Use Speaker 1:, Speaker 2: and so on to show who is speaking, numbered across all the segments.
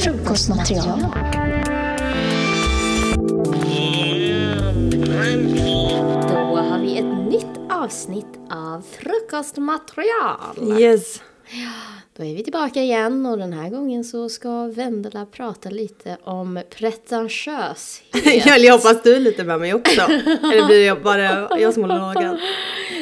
Speaker 1: Frukostmaterial.
Speaker 2: Då har vi ett nytt avsnitt av Frukostmaterial.
Speaker 3: Yes.
Speaker 2: Då är vi tillbaka igen och den här gången så ska Vendela prata lite om pretentiöshet.
Speaker 3: Jag hoppas du är lite med mig också. Eller blir det bara jag som håller lågan?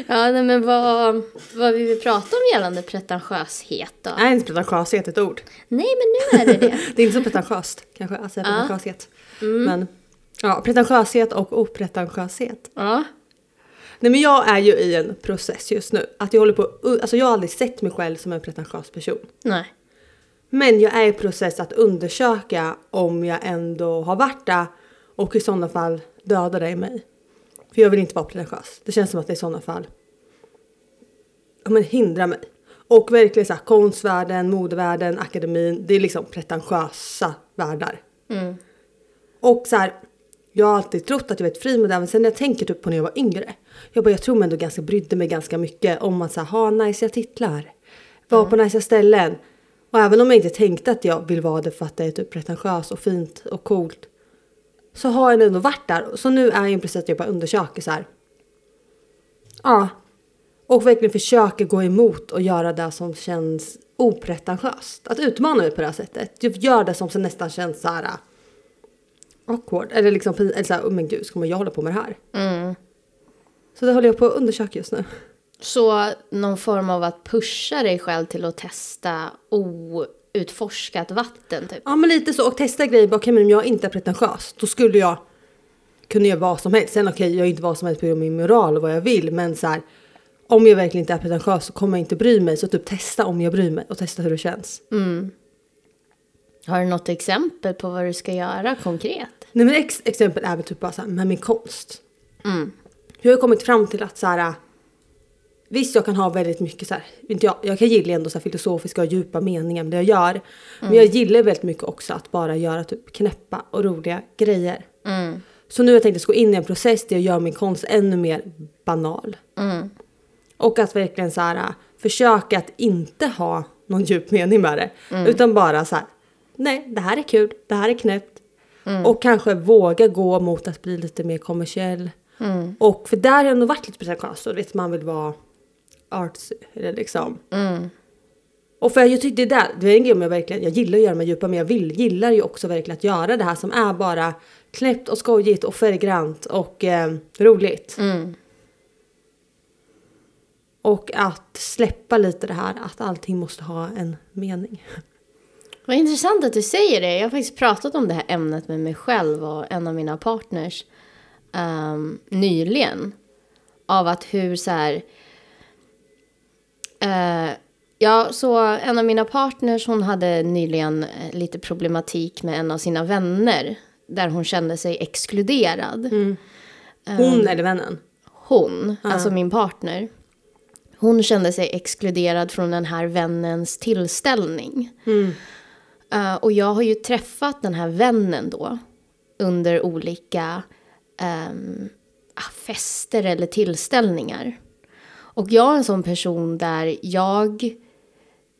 Speaker 2: Ja, nej, men vad, vad vi vill prata om gällande pretentiöshet då?
Speaker 3: Är inte pretentiöshet ett ord?
Speaker 2: Nej, men nu är det det.
Speaker 3: Det är inte så pretentiöst kanske Alltså, att säga pretentiöshet. Men ja, pretentiöshet och opretentiöshet.
Speaker 2: Ja,
Speaker 3: Nej men jag är ju i en process just nu. Att jag håller på, alltså jag har aldrig sett mig själv som en pretentiös person.
Speaker 2: nej.
Speaker 3: Men jag är i process att undersöka om jag ändå har varit det och i sådana fall döda det i mig. För jag vill inte vara pretentiös. Det känns som att det i sådana fall ja, men hindrar mig. Och verkligen så här, konstvärlden, modevärlden, akademin, det är liksom pretentiösa världar. Och så här, jag har alltid trott att jag varit fri med det, men sen när jag tänker typ på när jag var yngre. Jag bara, jag tror mig ändå ganska brydde mig ganska mycket om att så här, ha nice titlar, vara på nice ställen. Och även om jag inte tänkte att jag vill vara det för att det är typ pretentiöst och fint och coolt. Så har jag ändå varit där. Så nu är jag i precis att jag bara undersöker så här. Ja. Och verkligen försöker gå emot och göra det som känns opretentiöst. Att utmana mig på det här sättet. Typ gör det som så nästan känns så här awkward. Eller liksom pin- eller så här, oh, men gud, ska man jag hålla på med det här?
Speaker 2: Mm.
Speaker 3: Så det håller jag på att undersöka just nu.
Speaker 2: Så någon form av att pusha dig själv till att testa outforskat vatten typ.
Speaker 3: Ja men lite så och testa grejer. Bara, Okej men om jag inte är pretentiös då skulle jag kunna göra vad som helst. Sen okej jag är inte vad som helst på grund av min moral och vad jag vill men så här. Om jag verkligen inte är pretentiös så kommer jag inte bry mig. Så typ testa om jag bryr mig och testa hur det känns.
Speaker 2: Har du något exempel på vad du ska göra konkret?
Speaker 3: Nej men ex- exempel är väl typ bara så här, med min konst. Jag har ju kommit fram till att så här. Visst jag kan ha väldigt mycket så här, inte jag, jag kan gilla ändå så här filosofiska och djupa meningar med det jag gör. Men jag gillar väldigt mycket också att bara göra typ knäppa och roliga grejer. Så nu har jag tänkt att jag ska gå in i en process där jag gör min konst ännu mer banal. Och att verkligen så här, äh, försöka att inte ha någon djup mening med det. Utan bara så här, nej det här är kul, det här är knäppt. Och kanske våga gå mot att bli lite mer kommersiell. Och för där har jag nog varit lite pretentiös och vet man vill vara artsy eller liksom. Och för jag tyckte det där, det är en grej om jag verkligen, jag gillar att göra de här djupa men jag vill, gillar ju också verkligen att göra det här som är bara knäppt och skojigt och färggrant och eh, roligt.
Speaker 2: Mm.
Speaker 3: Och att släppa lite det här att allting måste ha en mening.
Speaker 2: Vad intressant att du säger det. Jag har faktiskt pratat om det här ämnet med mig själv och en av mina partners ehm, nyligen. Av att hur så här... Eh, ja, så en av mina partners hon hade nyligen eh, lite problematik med en av sina vänner. Där hon kände sig exkluderad Eh.
Speaker 3: Hon eller vännen.
Speaker 2: hon, alltså min partner, hon kände sig exkluderad från den här vännens tillställning. Eh, och jag har ju träffat den här vännen då under olika ehm, ah, fester eller tillställningar. Och jag är en sån person där jag...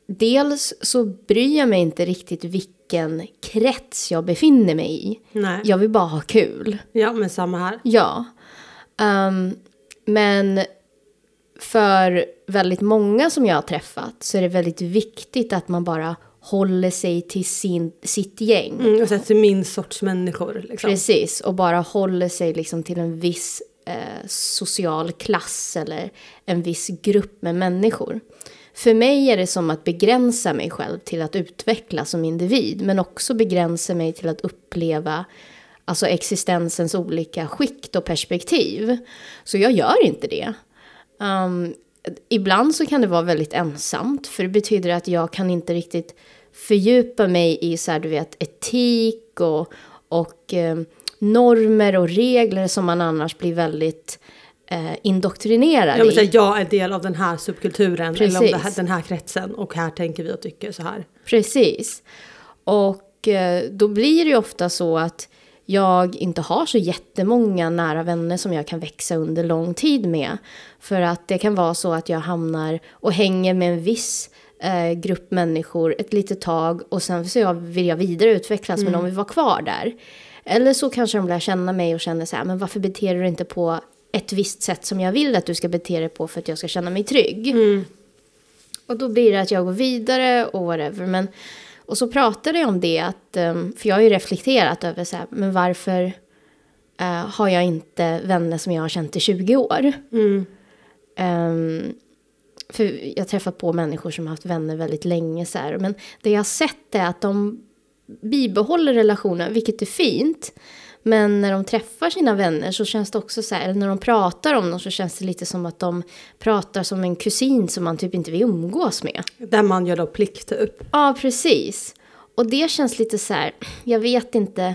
Speaker 2: Dels så bryr jag mig inte riktigt vilken krets jag befinner mig i.
Speaker 3: Nej.
Speaker 2: Jag vill bara ha kul.
Speaker 3: Ja men samma här.
Speaker 2: Ja. Ehm, men för väldigt många som jag har träffat så är det väldigt viktigt att man bara håller sig till sin, sitt gäng.
Speaker 3: Mm, och sen till min sorts människor. Liksom.
Speaker 2: Precis, och bara håller sig liksom till en viss eh, social klass eller en viss grupp med människor. För mig är det som att begränsa mig själv till att utvecklas som individ men också begränsa mig till att uppleva alltså existensens olika skikt och perspektiv. Så jag gör inte det. Ehm, ibland så kan det vara väldigt ensamt för det betyder att jag kan inte riktigt fördjupa mig i så här, du vet, etik och, och eh, normer och regler som man annars blir väldigt eh, indoktrinerad
Speaker 3: Jag,
Speaker 2: i.
Speaker 3: vill säga, jag är del av den här subkulturen eller om
Speaker 2: Precis.
Speaker 3: det här, den här kretsen och här tänker vi och tycker så här.
Speaker 2: Precis. Och eh, då blir det ju ofta så att jag inte har så jättemånga nära vänner som jag kan växa under lång tid med. För att det kan vara så att jag hamnar och hänger med en viss eh, grupp människor ett litet tag och sen så jag, vill jag vidareutvecklas men de vill vara kvar där. Eller så kanske de lär känna mig och känner så här, men varför beter du dig inte på ett visst sätt som jag vill att du ska bete dig på för att jag ska känna mig trygg. Och då blir det att jag går vidare och whatever. Men, och så pratade jag om det, att, ehm, för jag har ju reflekterat över så här, men varför eh, har jag inte vänner som jag har känt i 20 år? Ehm, för jag har träffat på människor som har haft vänner väldigt länge. Så här, men det jag har sett är att de bibehåller relationen, vilket är fint. Men när de träffar sina vänner så känns det också så här, eller när de pratar om dem så känns det lite som att de pratar som en kusin som man typ inte vill umgås med.
Speaker 3: Där man gör då plikt typ.
Speaker 2: Ja, precis. Och det känns lite så här, jag vet inte,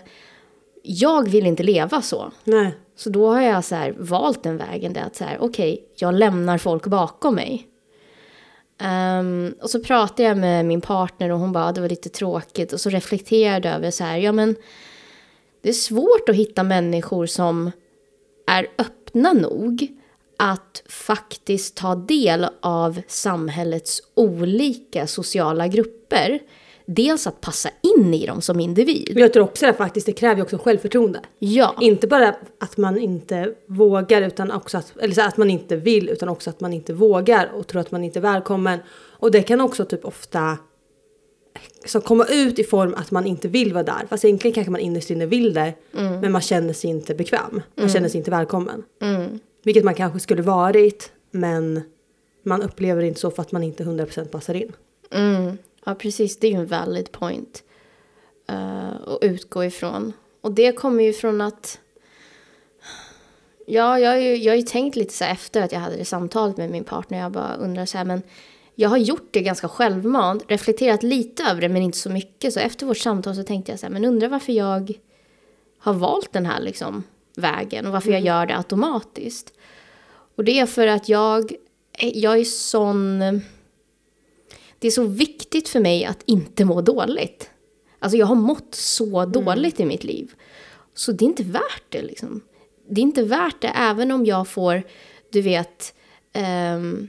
Speaker 2: jag vill inte leva så.
Speaker 3: Nej.
Speaker 2: Så då har jag så här valt den vägen där att så här, okej, jag lämnar folk bakom mig. Ehm, och så pratade jag med min partner och hon bara, "Ah, det var lite tråkigt. Och så reflekterade jag över så här, ja men det är svårt att hitta människor som är öppna nog att faktiskt ta del av samhällets olika sociala grupper. Dels att passa in i dem som individ.
Speaker 3: Jag tror också det faktiskt, det kräver ju också självförtroende.
Speaker 2: Ja.
Speaker 3: Inte bara att man inte vågar, utan också att, eller så här, att man inte vill, utan också att man inte vågar och tror att man inte är välkommen. Och det kan också typ ofta så komma ut i form att man inte vill vara där. Fast egentligen kanske man innerst inne vill det,
Speaker 2: Mm.
Speaker 3: men man känner sig inte bekväm. Man känner sig inte välkommen.
Speaker 2: Mm.
Speaker 3: Vilket man kanske skulle varit, men man upplever det inte så för att man inte 100% passar in.
Speaker 2: Mm. Ja, precis. Det är ju en valid point eh, att utgå ifrån. Och det kommer ju från att... Ja, jag har ju, jag har ju tänkt lite så här efter att jag hade det samtalet med min partner. Jag bara undrar så här, men jag har gjort det ganska självmant, reflekterat lite över det men inte så mycket. Så efter vårt samtal så tänkte jag så här, men undrar varför jag har valt den här liksom, vägen och varför jag gör det automatiskt. Och det är för att jag, jag är sån... Det är så viktigt för mig att inte må dåligt. Alltså jag har mått så
Speaker 3: Mm.
Speaker 2: dåligt i mitt liv. Så det är inte värt det liksom. Det är inte värt det även om jag får, du vet, ehm,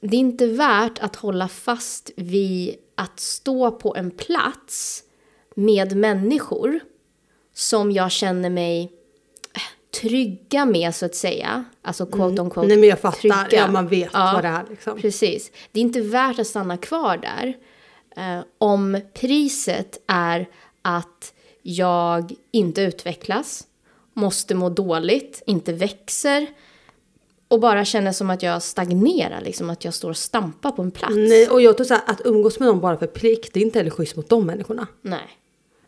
Speaker 2: det är inte värt att hålla fast vid att stå på en plats med människor som jag känner mig eh, trygga med så att säga. Alltså quote on quote
Speaker 3: Mm. Nej men jag fattar,
Speaker 2: trygga.
Speaker 3: ja, man vet
Speaker 2: Ja.
Speaker 3: vad det är liksom.
Speaker 2: Precis. Det är inte värt att stanna kvar där eh, om priset är att jag inte utvecklas, måste må dåligt, inte växer och bara känner som att jag stagnerar, liksom att jag står och stampar på en plats.
Speaker 3: Nej, och jag tror så här, att umgås med någon bara för prick, det är inte heller schysst mot de människorna.
Speaker 2: Nej.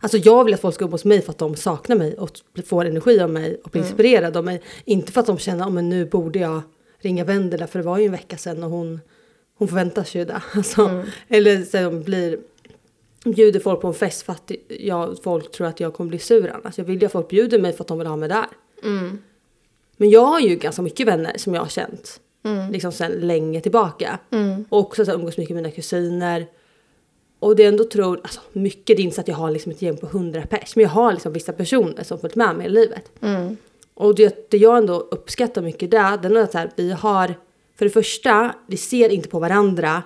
Speaker 3: Alltså jag vill att folk ska umgås med mig för att de saknar mig och får energi av mig och blir inspirerade av mig. Inte för att de känner, oh, men nu borde jag ringa Vendela för det var ju en vecka sedan och hon, hon förväntar sig ju det. Alltså, Eller så de blir, bjuder folk på en fest för att jag, folk tror att jag kommer bli sur annars. Jag vill ju att folk bjuder mig för att de vill ha mig där. Men jag har ju ganska mycket vänner som jag har känt. Liksom sen länge tillbaka. Och också så här, umgås mycket med mina kusiner. Och det jag ändå tror, alltså mycket det är inte så att jag har liksom ett gäng på 100 pers. Men jag har liksom vissa personer som följt med mig i livet. Och det, det jag ändå uppskattar mycket där, det är att så här, vi har, för det första, vi ser inte på varandra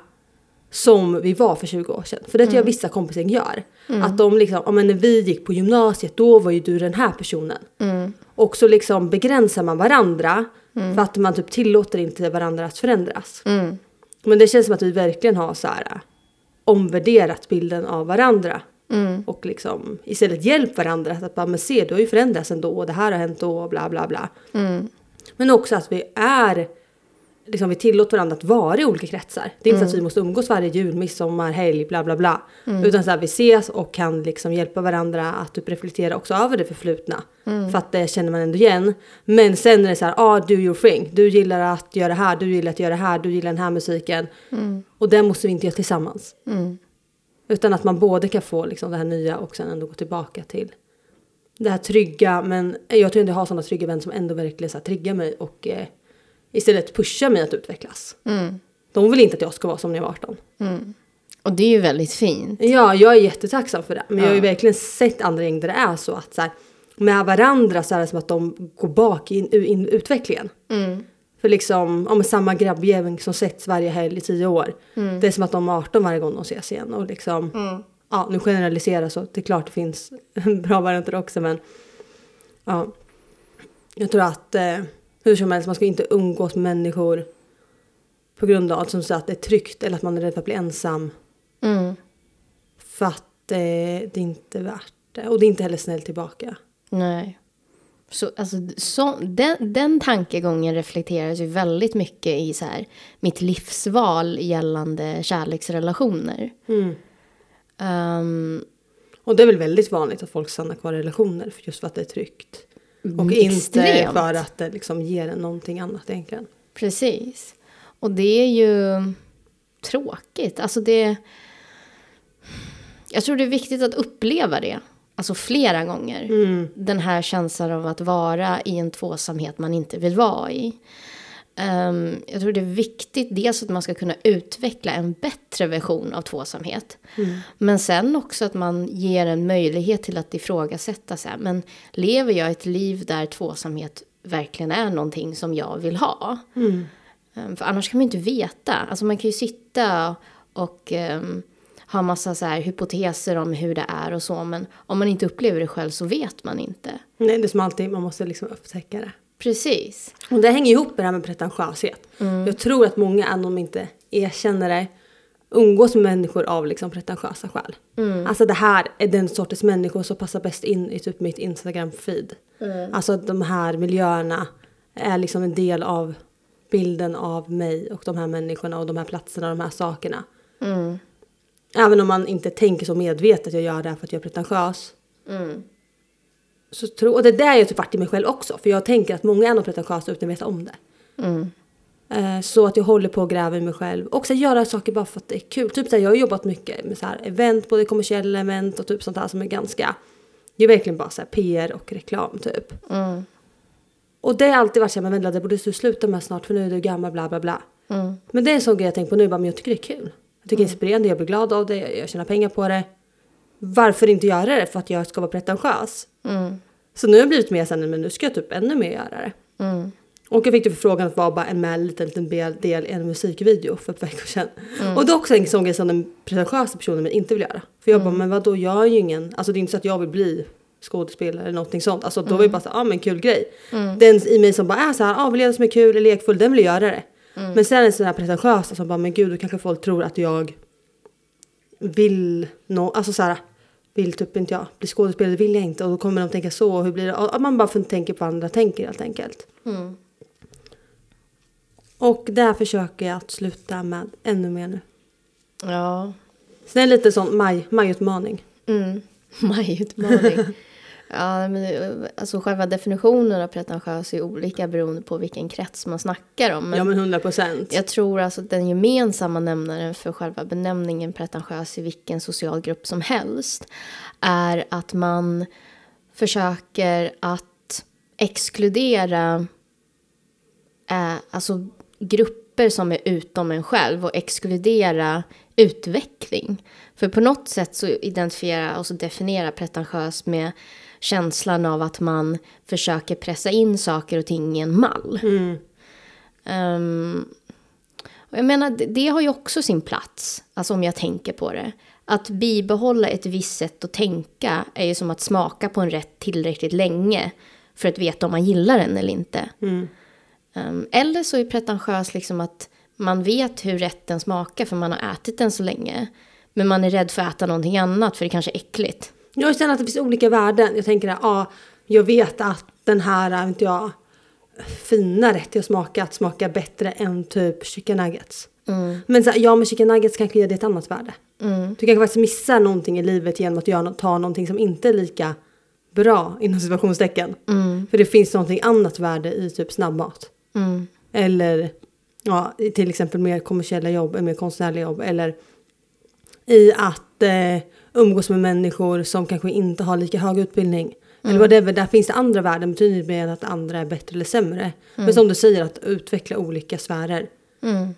Speaker 3: som vi var för 20 år sedan. För det tror jag vissa kompisar gör. Att de liksom, ja men när vi gick på gymnasiet då var ju du den här personen. Och så liksom begränsar man varandra för att man typ tillåter inte varandra att förändras. Men det känns som att vi verkligen har så här äh, omvärderat bilden av varandra. Och liksom istället hjälpt varandra att bara, men se du har ju förändrats ändå och det här har hänt då och bla bla bla. Men också att vi är, liksom vi tillåter varandra att vara i olika kretsar. Det är inte så att vi måste umgås varje jul, midsommar, helg, bla bla bla. Utan så här, vi ses och kan liksom hjälpa varandra att typ reflektera också över det förflutna. För att det känner man ändå igen. Men sen är det så här, ah, do your thing. Du gillar att göra det här, du gillar att göra det här, du gillar den här musiken. Och det måste vi inte göra tillsammans. Utan att man både kan få liksom det här nya och sen ändå gå tillbaka till det här trygga. Men jag tror inte jag har sådana trygga vänner som ändå verkligen så här triggar mig och eh, istället pushar mig att utvecklas. De vill inte att jag ska vara som när jag var 18.
Speaker 2: Mm. Och det är ju väldigt fint.
Speaker 3: Ja, jag är jättetacksam för det. Men jag har ju verkligen sett andra gäng där det är så att så här, med varandra så är det som att de går bak i, in, in, utvecklingen.
Speaker 2: Mm.
Speaker 3: För liksom, om samma grabbgäng som setts varje helg i tio år. Det är som att de är 18 varje gång de ses igen. Och liksom, ja, nu generaliserar så det är klart det finns bra varianter också men. Ja. Jag tror att eh, hur som helst, man ska inte umgås med människor på grund av att, som sagt, att det är tryggt eller att man är rädd för att bli ensam.
Speaker 2: Mm.
Speaker 3: För att eh, det är inte värt det. Och det är inte heller snällt tillbaka.
Speaker 2: Nej. Så, alltså, så, den, den tankegången reflekteras ju väldigt mycket i så här, mitt livsval gällande kärleksrelationer. Ehm,
Speaker 3: Och det är väl väldigt vanligt att folk stannar kvar i relationer för just för att det är tryggt. Och inte
Speaker 2: extremt.
Speaker 3: för att det liksom ger en någonting annat egentligen.
Speaker 2: Precis. Och det är ju tråkigt. Alltså det... Jag tror det är viktigt att uppleva det. Alltså flera gånger.
Speaker 3: Mm.
Speaker 2: Den här känslan av att vara i en tvåsamhet man inte vill vara i. Ehm, jag tror det är viktigt dels att man ska kunna utveckla en bättre version av tvåsamhet. Men sen också att man ger en möjlighet till att ifrågasätta så här, men lever jag ett liv där tvåsamhet verkligen är någonting som jag vill ha? Ehm, För annars kan man ju inte veta. Alltså man kan ju sitta och ehm, ha massa så här hypoteser om hur det är och så, men om man inte upplever det själv så vet man inte.
Speaker 3: Nej, det är som alltid, man måste liksom upptäcka det.
Speaker 2: Precis.
Speaker 3: Och det hänger ihop med det här med pretentiöshet. Jag tror att många, även om de inte erkänner det, umgås med människor av liksom pretentiösa skäl. Alltså det här är den sortens människor som passar bäst in i typ mitt Instagram-feed. Alltså att de här miljöerna är liksom en del av bilden av mig och de här människorna och de här platserna och de här sakerna.
Speaker 2: Mm,
Speaker 3: Även om man inte tänker så medvetet, jag gör det här för att jag är pretentiös.
Speaker 2: mm,
Speaker 3: Så tro, och det där är jag typ varit i mig själv också. För jag tänker att många är nog pretentiösa utan att veta om det.
Speaker 2: mm,
Speaker 3: Eh, Så att jag håller på och gräver i mig själv. Och så göra saker bara för att det är kul. Typ så här, jag har jobbat mycket med så här event, både kommersiella event och typ sånt här som är ganska... Det är verkligen bara så här PR och reklam typ.
Speaker 2: mm,
Speaker 3: Och det har alltid varit så här, men vänta det borde du sluta med snart för nu är du gammal bla bla bla. Men det är en sån grej jag tänker på nu, bara, men jag tycker det är kul. Jag tycker det är inspirerande, jag blir glad av det, jag- jag tjänar pengar på det. Varför inte göra det för att jag ska vara pretentiös?
Speaker 2: mm,
Speaker 3: Så nu har jag blivit mer såhär, nej, men nu ska jag typ ännu mer göra det.
Speaker 2: mm,
Speaker 3: Och jag fick ju förfrågan att vara bara en med en liten, liten del- del i en musikvideo för ett veckor sedan. Och det är också en sån grej som den pretentiösa personen men inte vill göra. För jag bara, men vadå jag är ju ingen, alltså det är inte så att jag vill bli skådespelare eller någonting sånt. Alltså då var det bara såhär, ja ah, men kul grej. Den i mig som bara är såhär, ja ah, vill göra det som är kul, är lekfull, den vill göra det. Men sen är det sådana här pretentiösa som bara, men gud då kanske folk tror att jag vill nå, alltså så här, vill typ inte jag bli skådespelare, vill jag inte och då kommer de tänka så och hur blir det? Att man bara fun- tänker på vad andra tänker helt enkelt.
Speaker 2: mm.
Speaker 3: Och där försöker jag att sluta med ännu mer nu.
Speaker 2: Ja.
Speaker 3: Så det är lite sån maj, majutmaning.
Speaker 2: Mm. Majutmaning. ja, men, eh, alltså själva definitionen av pretentiös är ju olika beroende på vilken krets man snackar om. Men
Speaker 3: ja men 100 procent.
Speaker 2: Jag tror alltså att den gemensamma nämnaren för själva benämningen pretentiös i vilken social grupp som helst är att man försöker att exkludera eh, alltså grupper som är utom en själv och exkludera utveckling. För på något sätt så identifiera och så definiera pretentiös med känslan av att man försöker pressa in saker och ting i en mall. Ehm, och jag menar, det, det har ju också sin plats, alltså om jag tänker på det. Att bibehålla ett visst sätt att tänka är ju som att smaka på en rätt tillräckligt länge för att veta om man gillar den eller inte. Ehm, eller så är pretentiös liksom att man vet hur rätten smakar för man har ätit den så länge. Men man är rädd för att äta någonting annat för det kanske är äckligt.
Speaker 3: Jag känner att det finns olika värden. Jag tänker att ja, jag vet att den här, vet inte jag, fina rätt jag smakat smakar bättre än typ chicken nuggets.
Speaker 2: Mm.
Speaker 3: Men så här, ja, men chicken nuggets kanske ger dig ett annat värde. Du kanske faktiskt missar någonting i livet genom att göra, nå- ta någonting som inte är lika bra inom situationstecken.
Speaker 2: Mm.
Speaker 3: För det finns någonting annat värde i typ snabbmat. Eller ja, i till exempel mer kommersiella jobb, mer konstnärliga jobb. Eller i att eh, umgås med människor som kanske inte har lika hög utbildning. Eller whatever, där finns det andra värden, betyder inte mer än att andra är bättre eller sämre. Men som du säger, att utveckla olika sfärer.
Speaker 2: mm.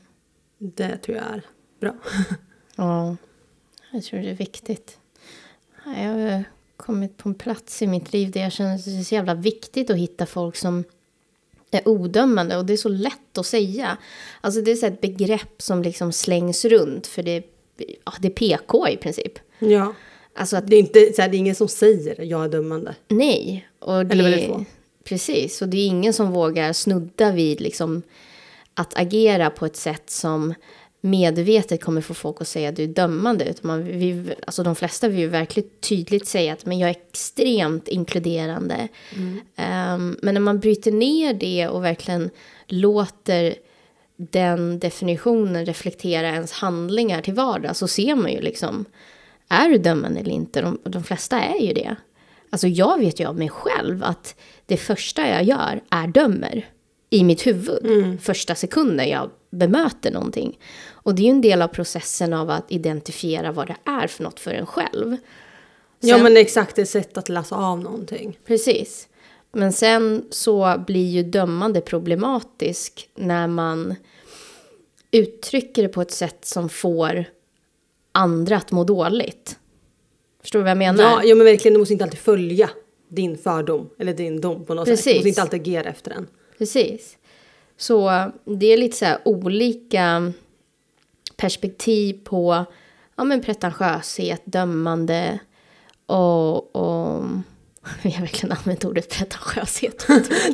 Speaker 3: Det tror jag är bra.
Speaker 2: Ja, jag tror det är viktigt. Ja, Jag eh, kommit på en plats i mitt liv där jag känner att det är så jävla viktigt att hitta folk som är odömande och det är så lätt att säga. Alltså det är så här ett begrepp som liksom slängs runt för det, ja, det är PK i princip.
Speaker 3: Ja.
Speaker 2: Alltså att
Speaker 3: Det är, inte, så här, det är ingen som säger jag är dömande.
Speaker 2: nej. Och det,
Speaker 3: Eller väldigt få.
Speaker 2: Precis, och det är ingen som vågar snudda vid liksom att agera på ett sätt som medvetet kommer få folk att säga att du är dömande. Utan man, vi, alltså de flesta vill ju verkligen tydligt säga att men jag är extremt inkluderande. Ehm, men när man bryter ner det och verkligen låter den definitionen reflektera ens handlingar till vardags så ser man ju liksom, är du dömande eller inte? De, de flesta är ju det. Alltså jag vet ju av mig själv att det första jag gör är dömer i mitt huvud. Första sekunden jag bemöter någonting. Och det är ju en del av processen av att identifiera vad det är för något för en själv.
Speaker 3: Ja men exakt, det är sätt att läsa av någonting.
Speaker 2: Precis. Men sen så blir ju dömande problematisk när man uttrycker det på ett sätt som får andra att må dåligt. Förstår du vad jag menar?
Speaker 3: Ja, ja men verkligen, du måste inte alltid följa din fördom. Eller din dom på något sätt. Du
Speaker 2: Precis.
Speaker 3: måste inte alltid agera efter den.
Speaker 2: Precis. Så det är lite så här olika perspektiv på ja, men pretentiöshet, dömande och, och... Vi har verkligen använt ordet pretentiöshet.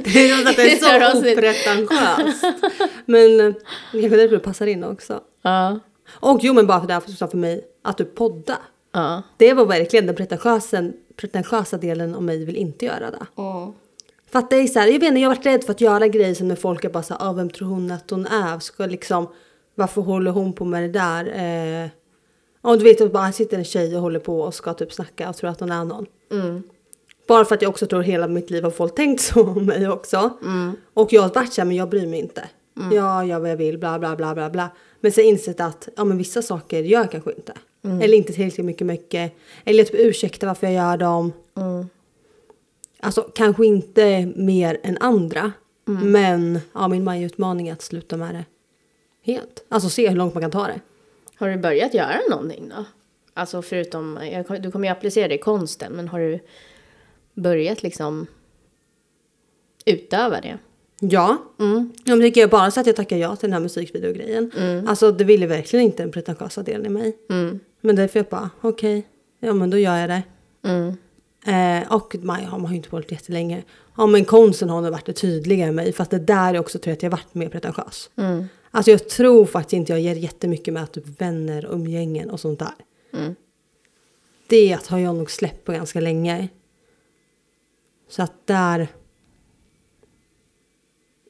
Speaker 3: Det är som att det är
Speaker 2: Det är
Speaker 3: så
Speaker 2: avsnitt.
Speaker 3: opretentiöst. Men eh, det kanske därför det passar in också.
Speaker 2: ja,
Speaker 3: Och jo men bara för det här för, för mig, att du poddar.
Speaker 2: ja.
Speaker 3: Det var verkligen den pretentiösa, pretentiösa delen av mig vill inte göra det. För att det är så här, jag vet inte, jag har varit rädd för att göra grejer som när folk är bara så här, ah, vem tror hon att hon är? Ska liksom, varför håller hon på med det där? Eh, om du vet att bara här sitter en tjej och håller på och ska typ snacka och tror att hon är någon. Bara för att jag också tror hela mitt liv har folk tänkt så om mig också. Och jag har varit såhär, men jag bryr mig inte. Ja, jag gör vad jag vill, bla bla bla bla bla. Men sen insett att, ja men vissa saker gör jag kanske inte. Eller inte tillräckligt mycket, mycket. Eller typ ursäkta varför jag gör dem.
Speaker 2: mm.
Speaker 3: Alltså kanske inte mer än andra. Men ja, min maj-utmaning är att sluta med det helt. Alltså se hur långt man kan ta det.
Speaker 2: Har du börjat göra någonting då? Alltså förutom, jag, du kommer ju applicera det i konsten, men har du börjat liksom utöva det?
Speaker 3: Ja. Mm. ja men det kan jag bara så att jag tackar ja till den här musikvideogrejen. Alltså det ville verkligen inte den pretentiösa delen i mig.
Speaker 2: mm,
Speaker 3: Men därför jag bara, okej, ja men då gör jag det.
Speaker 2: mm,
Speaker 3: Eh, och maj har man ju inte hållit jättelänge. Ja men konsten har nog varit det tydliga i mig. Fast det där är också tror jag att jag varit mer pretentiös.
Speaker 2: mm,
Speaker 3: Alltså jag tror faktiskt inte jag ger jättemycket med typ vänner, umgängen och sånt där.
Speaker 2: mm.
Speaker 3: Det har jag nog släppt på ganska länge. Så att där...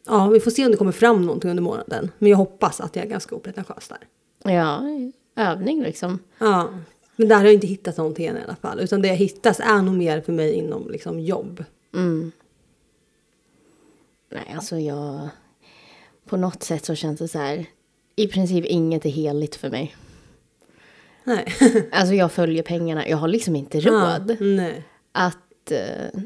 Speaker 3: Ja, vi får se om det kommer fram någonting under månaden. Men jag hoppas att jag är ganska opretentiös där.
Speaker 2: Ja, övning liksom.
Speaker 3: Ja. Men där har jag inte hittat någonting än i alla fall. Utan det jag hittas är nog mer för mig inom liksom, jobb.
Speaker 2: Mm. Nej, alltså jag... På något sätt så känns det så här... I princip inget är heligt för mig.
Speaker 3: Nej.
Speaker 2: Alltså jag följer pengarna. Jag har liksom inte
Speaker 3: Ja,
Speaker 2: råd
Speaker 3: nej.
Speaker 2: att, eh,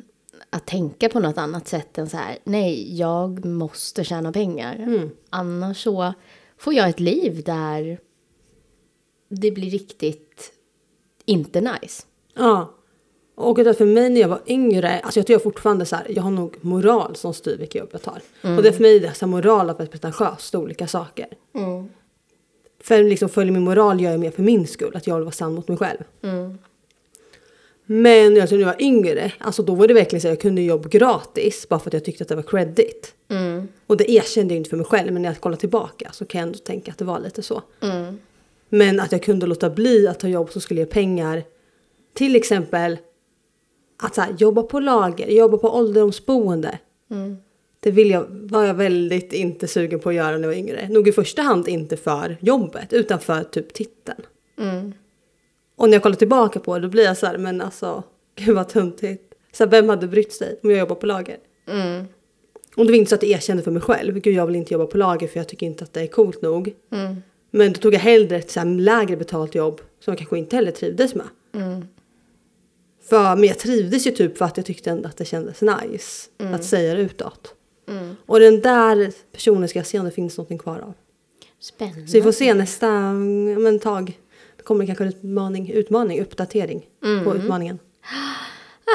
Speaker 2: att tänka på något annat sätt än så här. Nej, jag måste tjäna pengar.
Speaker 3: Mm.
Speaker 2: Annars så får jag ett liv där det blir riktigt inte nice.
Speaker 3: Ja. Och det för mig när jag var yngre, alltså jag tror jag fortfarande så här, jag har nog moral som styr vilka jobb jag tar. Och det är för mig det är så här, moral och pretentiöst, det är olika saker. För liksom följer min moral gör jag mer för min skull, att jag vill vara sann mot mig själv. Mm. Men jag tror när jag var yngre, alltså då var det verkligen så här, jag kunde jobb gratis bara för att jag tyckte att det var credit.
Speaker 2: Mm.
Speaker 3: Och det erkände jag inte för mig själv, men när jag kollar tillbaka så kan jag ändå tänka att det var lite så. Men att jag kunde låta bli att ta jobb som skulle ge pengar. Till exempel att så här, jobba på lager, jobba på ålderdomsboende. Det vill jag, var jag väldigt inte sugen på att göra när jag var yngre. Nog i första hand inte för jobbet utan för typ titeln. Och när jag kollar tillbaka på det då blir jag så här, men alltså gud vad töntigt. Så här, vem hade brytt sig om jag jobbar på lager? Och det var inte så att jag erkände för mig själv. Gud jag vill inte jobba på lager för jag tycker inte att det är coolt nog. Men då tog jag hellre ett så här lägre betalt jobb som jag kanske inte heller trivdes med. För, men jag trivdes ju typ för att jag tyckte ändå att det kändes nice att säga det utåt. Och den där personen ska jag se om det finns någonting kvar av.
Speaker 2: Spännande.
Speaker 3: Så vi får se nästa mm, men, tag. Då kommer det kanske en utmaning, utmaning uppdatering på utmaningen.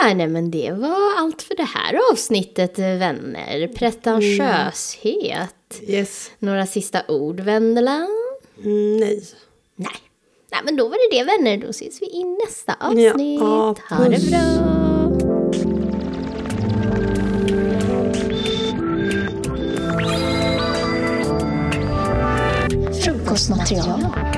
Speaker 2: Ah, nej, men det var allt för det här avsnittet, eh, vänner.
Speaker 3: Mm.
Speaker 2: Pretentiöshet.
Speaker 3: Yes.
Speaker 2: Några sista ord, Vendela?
Speaker 3: Mm, nej.
Speaker 2: Nej. Nej, men då var det det, vänner. Då ses vi i nästa avsnitt.
Speaker 3: Ja,
Speaker 2: ha det
Speaker 3: puss.
Speaker 2: bra.
Speaker 1: Frukostmaterial.